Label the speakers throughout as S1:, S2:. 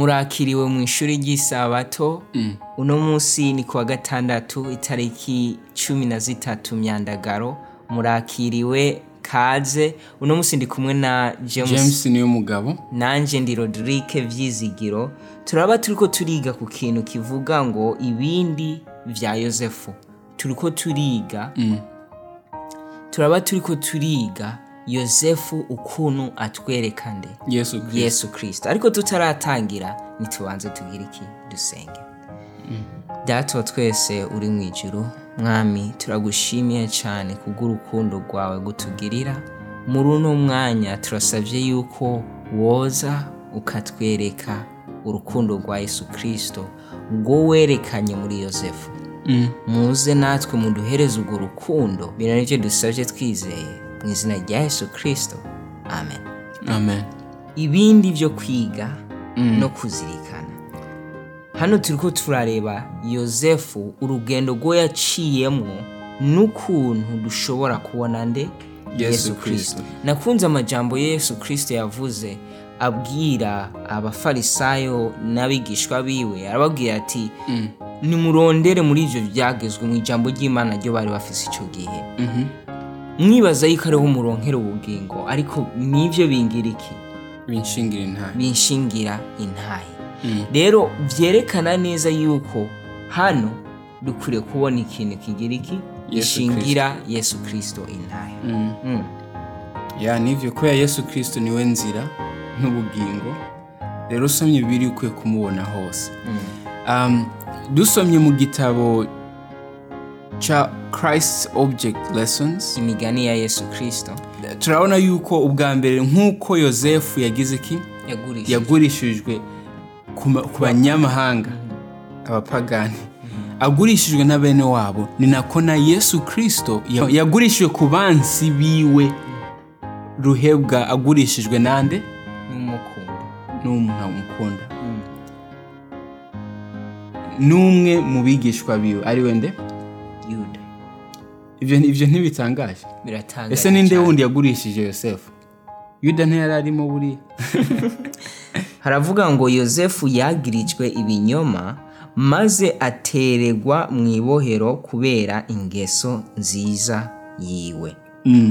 S1: murakiriwe mu ishuri ry'isabato uno munsi ni ku wa gatandatu itariki cumi na zitatu myandagaro murakiriwe kaze uno munsi ndi kumwe na james
S2: james niwe mugabo
S1: nanjye ndi rodirike byizigiro turaba turiko turiga ku kintu kivuga ngo ibindi vya yosefu turiko turiga turaba turiko turiga yosefu ukuntu atwereka nde
S2: yesu kirisito
S1: yesu kirisito ariko tutaratangira ntitubanze tugire iki dusenge data wa twese uri mu ijuru mwami turagushimiye cyane kubw'urukundo rwawe gutugirira muri uno mwanya turasabye yuko woza ukatwereka urukundo rwa yesu kirisito rwo werekanye muri yosefu muze natwe muduhereze urwo rukundo bino nibyo dusabye twizeye mu izina rya yesu kirisito amen
S2: amen
S1: ibindi byo kwiga no kuzirikana hano turiko turareba yosefu urugendo rwo yaciyemo n'ukuntu dushobora kubona nde Kristo.
S2: Yesu Kristo.
S1: nakunze amajambo ya yesu kirisito yavuze abwira abafarisayo n'abigishwa biwe arababwira ati nimurondere muri ibyo byagezwe mu ijambo ry'imana ryo bari bafise icyo gihe mwibaza yuko ariho umuronkera ubugingo ariko n'ibyo bingira iki
S2: binshingira intare
S1: binshingira intahe
S2: Mm.
S1: rero byerekana neza yuko hano dukwiriye kubona ikintu kigira iki
S2: Yesu
S1: gishingira yesu kirisito intahe Mm.
S2: ya nivyo kubera yesu kirisito niwe nzira n'ubugingo rero usomye biri ukwiye kumubona hose um, dusomye mu gitabo ca christ object lessons
S1: imigani ya yesu kirisito
S2: turabona yuko ubwa mbere nk'uko yosefu yagize ki
S1: yagurishije
S2: yagurishijwe ku ma- ku banyamahanga abapagani agurishijwe na bene wabo ni nako na yesu kirisito ya- yagurishijwe ku bansi biwe ruhebwa agurishijwe nande
S1: n'umukundo
S2: n'umwana umukunda n'umwe mu bigishwa biwe ari we nde
S1: yuda
S2: ibyo ibyo ntibitangaje
S1: biratangaje
S2: ese ninde
S1: cyane.
S2: wundi yagurishije yosefu yuda ntiyari arimo buriya
S1: haravuga ngo yosefu yagirijwe ibinyoma maze ateregwa mu ibohero kubera ingeso nziza yiwe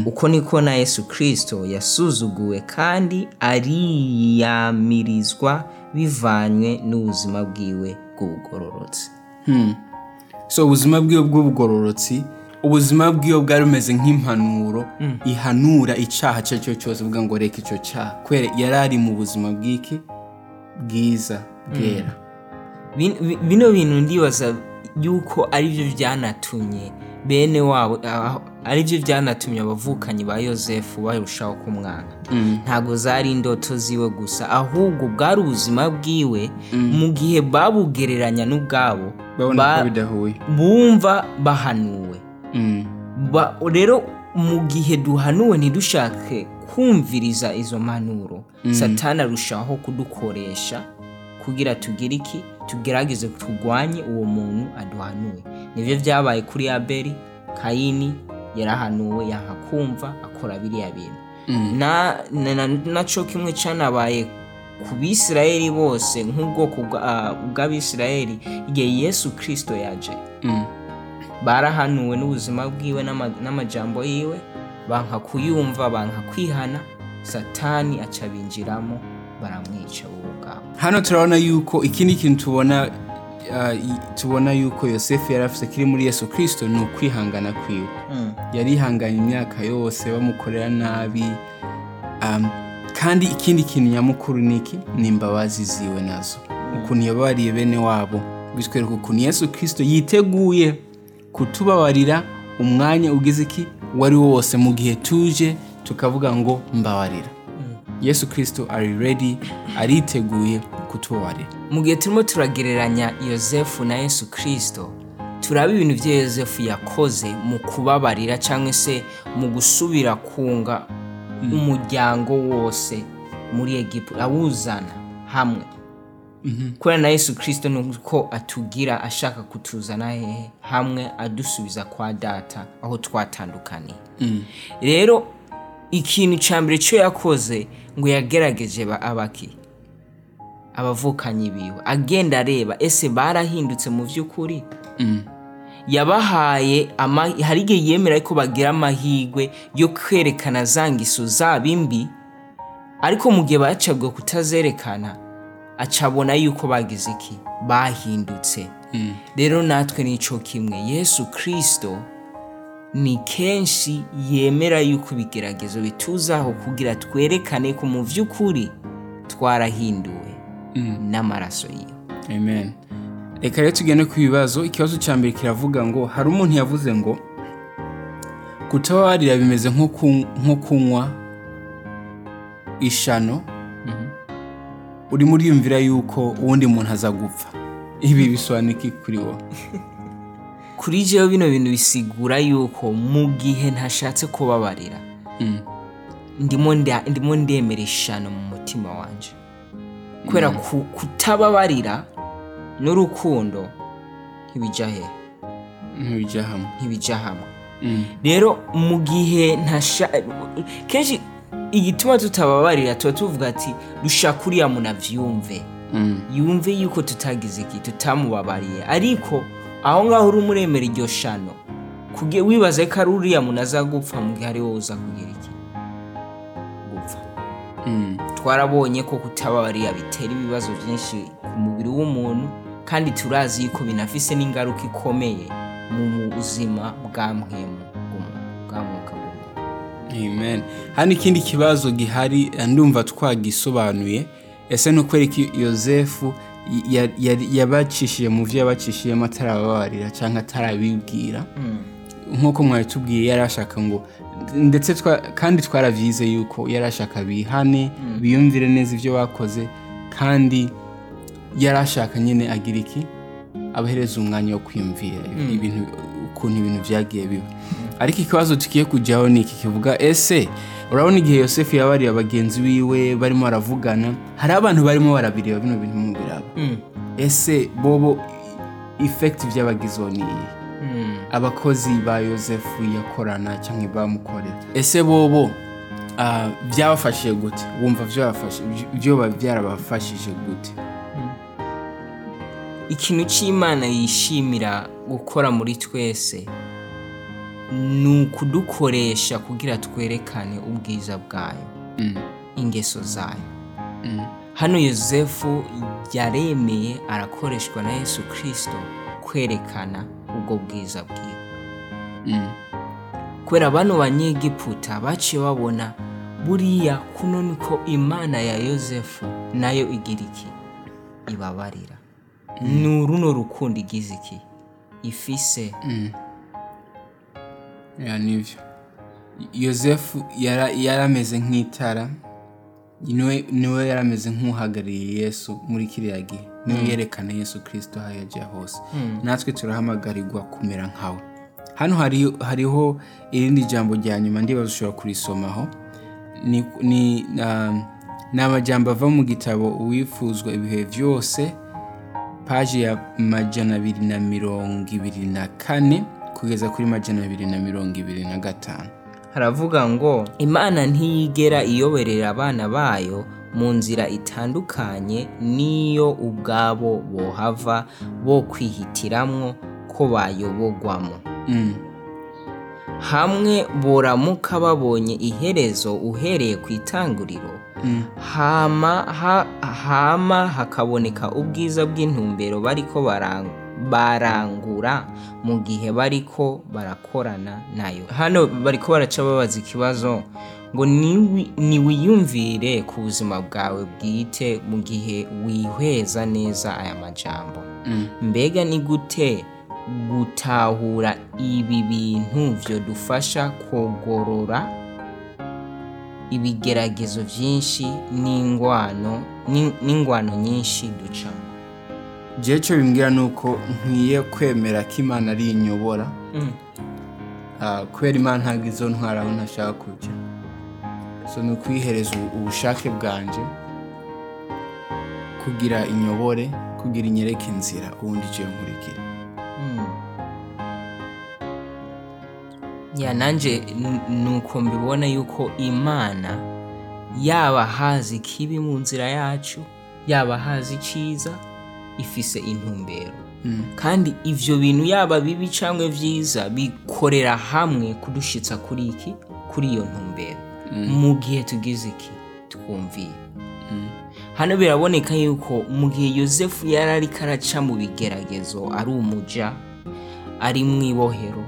S1: uko niko na yesu kirisito yasuzuguwe kandi ariyamirizwa bivanywe n'ubuzima bwiwe bw'ubugororotse
S2: so ubuzima bw'iwe bw'ubugororotsi ubuzima bw'iwe bwari bumeze nk'impanuro ihanura icyaha icyo ari cyo cyose uvuga ngo reka icyo cyaha kubera yari ari mu buzima bw'iki bwiza bwera
S1: Bin- bi- bino bintu ndibaza yuko aribyo byanatumye bene wabo aho- aribyo byanatumye abavukanyi ba yosefu barushaho kumwanga
S2: Mm.
S1: ntabwo zari indoto ziwe gusa ahubwo bwari ubuzima bwiwe mu gihe babugereranya n'ubwabo
S2: babona
S1: ba-
S2: ko bidahuye Mm.
S1: bumva bahanuwe Ba- rero mu gihe duhanuwe ntidushake kumviriza izo mpanuro satani arushaho kudukoresha kugira tugire iki tugerageze turwanye uwo muntu aduhanuye nibyo byabaye kuri abeli kayini yarahanuwe yanga kumva akora biriya bintu na, na, na, naco kimwe canabaye ku bisirayeli bose nk'ubwoko bwa- ah, bw'abisirayeli igihe yesu kirisito yaje
S2: Mm.
S1: barahanuwe n'ubuzima bwiwe n'ama- n'amajambo yiwe banka kuyumva banka kwihana satani aca binjiramo baramwica uwo bwabo
S2: hano turabona yuko ikindi kintu tubona ah, i- tubona yuko yosefu yari afite kiri muri yesu kirisito ni ukwihangana kwiwe yarihanganye imyaka yose bamukorera nabi um, kandi ikindi kintu nyamukuru ni iki ni imbabazi ziwe nazo ukuntu yababariye bene wabo bitwereka ukuntu yesu kirisito yiteguye kutubabarira umwanya ugize iki wari wo wose mu gihe tuje tukavuga ngo mbabarira yesu kirisito ari ready ariteguye kutubabarira
S1: mu gihe turimo turagereranya yosefu na yesu kirisito turaba ibintu bya yosefu yakoze mu kubabarira cyangwa se mu gusubira kunga umuryango wose muri egiputa awuzana hamwe kubera na yesu kirisito ni uko atugira ashaka kutuzana hehe hamwe adusubiza kwa data aho twatandukaniye rero ikintu cya mbere cyo yakoze ngo yagerageje ba abaki abavukanyi biwe agenda areba ese barahindutse mu by'ukuri yabahaye ama- hari igihe yemera ko bagira amahirwe yo kwerekana za ngiso zabo imbi ariko mu gihe bacabwa kutazerekana acabona yuko bagize iki bahindutse rero natwe nicyo kimwe yesu kirisito ni kenshi yemera yuko ibigeragezo bituzaho kugira twerekane ko mu by'ukuri twarahinduwe n'amaraso yiwe
S2: amen reka rero tugende ku bibazo ikibazo cya mbere kiravuga ngo hari umuntu yavuze ngo kutababarira bimeze nko kun- nko kunywa ishano Mhm. urimo uriyumvira yuko uwundi muntu aza gupfa ibi bisobanura iki kuri wowe
S1: kuri jewe bino bintu bisigura yuko mu gihe ntashatse kubabarira
S2: Mm.
S1: ndimo nda- ndimo ndemera ishano mu mutima wanjye kubera ku- kutababarira n'urukundo ntibijya he
S2: ntibijya Mm. hamwe
S1: ntibijya hamwe
S2: Mm.
S1: rero mu gihe ntasha kenshi igituma tutababarira tuba tuvuga ati dushaka uriya muntu abyumve
S2: Mm.
S1: yumve yuko tutagize iki tutamubabariye ariko aho ngaho uri umuremera iryo shano kuge wibaze ko ari uriya muntu aza gupfa mu gihe ari wowe uza kugira iki gupfa
S2: Mm.
S1: twarabonye ko kutababarira bitera ibibazo byinshi ku mubiri w'umuntu kandi turazi yuko binafise n'ingaruka ikomeye mu buzima bwa mwemu bw'umuntu bwa mwuka w'umuntu
S2: Amen. Hano ikindi kibazo gihari eh, ndumva twagisobanuye ese ni ukwera ko yosefu y- ya- ya- yabacishije mu byo yabacishijemo atarababarira cyangwa atarabibwira nk'uko mwari tubwiye yari ashaka ngo ndetse twa- kandi twarabyize yuko yari ashaka bihane biyumvire neza ibyo bakoze kandi yari ashaka nyine agira iki abahereza umwanya wo kwiyumvira ibintu ukuntu ibintu byagiye biba ariko ikibazo tugiye kujyaho ni iki kivuga ese urabona igihe yosefu yabariye bagenzi biwe barimo baravugana hari abantu barimo barabireba bino bintu mu biraba
S1: Mm. Hmm,
S2: ese bobo ifekiti by'abagizeho ni iyihe
S1: hmm.
S2: abakozi ba yosefu yakorana cyangwa bamukorera ese bobo ah, byabafashije gute wumva byabafashe- by- byoba byarabafashije gute
S1: ikintu cy'imana yishimira gukora muri twese ni ukudukoresha kugira twerekane ubwiza bwayo
S2: Mm,
S1: ingeso zayo
S2: mm,
S1: hano yosefu yaremeye arakoreshwa na yesu kirisito kwerekana ubwo bwiza bwiwe
S2: mm,
S1: kubera bano banyegiputa baciye babona buriya kuno niko imana ya yosefu nayo igira iki ibabarira ni runo rukundo igize iki ifise
S2: mm. Ya, nibyo yosefu yara- yari ameze nk'itara niwe niwe yari ameze nk'uhagarariye yesu muri kiriya gihe niwe yerekana yesu kirisito aho yagiye hose natwe turahamagarirwa kumera nkawe hano hari- hariho irindi jambo rya nyuma ndibaza ushobora kurisomaho ni ni, um, ni amajyamba ava mu gitabo uwifuzwa ibihe byose paji ya majana abiri na mirongo ibiri na kane kugeza kuri majana abiri na mirongo ibiri na gatanu
S1: haravuga ngo imana ntiyigera iyoberera abana bayo mu nzira itandukanye n'iyo ubwabo bohava bo kwihitiramwo ko bayobogwamo
S2: Mm,
S1: hamwe boramuka babonye iherezo uhereye ku itanguriro
S2: mm,
S1: hama, ha, hama hakaboneka ubwiza bw'intumbero bariko barang- barangura mu gihe bariko barakorana nayo hano bariko baraca babaza ikibazo ngo niwi- niwiyumvire ku buzima bwawe bwite mu gihe wihweza neza aya majambo
S2: mm,
S1: mbega ni gute gutahura ibi bintu byodufasha kugorora ibigeragezo byinshi n'ingwano n'in- n'ingwano nyinshi duca
S2: Jewe icyo bimbwira ni uko nkwiye kwemera ko imana ari inyobora Ah, kubera imana ntabwo izo ntwara aho ntashaka kujya so ni ukwihereza ubu- ubushake bwanjye kugira inyobore kugira inyereke inzira ubundi icyo nkurikira
S1: ya nanjye n- ni uko mbibona yuko imana yaba hazi ikibi mu nzira yacu yaba hazi icyiza ifise intumbero
S2: Mm,
S1: kandi ibyo bintu yaba bibi cyangwa byiza bikorera hamwe kudushyitsa kuri iki kuri iyo ntumbero mu gihe tugize iki twumviye hano biraboneka yuko mu gihe yosefu yari ari karaca mu bigeragezo ari umuja ari mu ibohero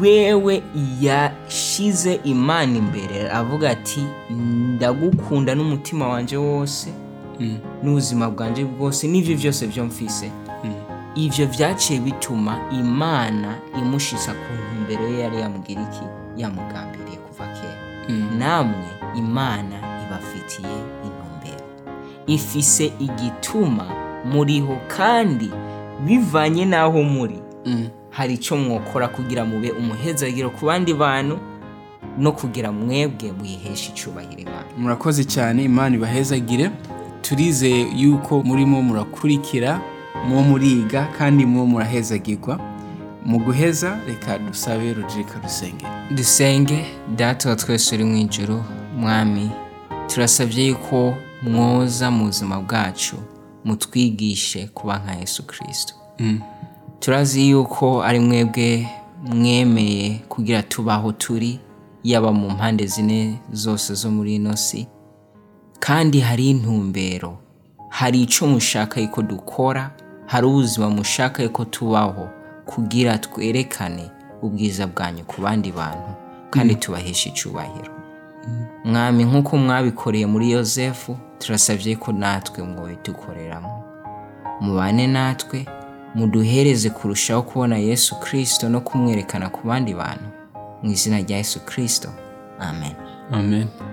S1: wewe yashyize imana imbere avuga ati ndagukunda n'umutima wanjye wose
S2: mm,
S1: n'ubuzima bwanjye bwose n'ibyo byose byo mfise ibyo byaciye bituma imana imushyiza ku ntumbero ye yari yamubwira iki yamugambiriye kuva kera namwe imana ibafitiye intumbero ifise igituma muriho kandi bivanye n'aho muri
S2: mm.
S1: hari icyo mwokora kugira mube umuhezagiro ku bandi bantu no kugira mwebwe mwihesha icyubahiro imana
S2: murakoze cyane imana ibahezagire turizeye yuko murimo murakurikira muwo muriga kandi muwo murahezagirwa mu guheza reka dusabe rugirika rusenge
S1: dusenge data wa twese uri mu ijoro mwami turasabye yuko mwoza mu buzima bwacu mutwigishe kuba nka yesu kirisito turazi yuko ari mwebwe mwemeye kugira tubaho turi yaba mu mpande zine zose zo muri ino si kandi hari intumbero hari icyo mushaka ko dukora hari ubuzima mushaka ko tubaho kugira twerekane ubwiza bwanyu ku bandi bantu kandi tubaheshe icyubahiro mwami nk'uko mwabikoreye muri yosefu turasabye ko natwe mwabidukoreramo mubane natwe muduhereze kurushaho kubona yesu kirisito no kumwerekana ku bandi bantu mu izina rya yesu kirisito amen
S2: amen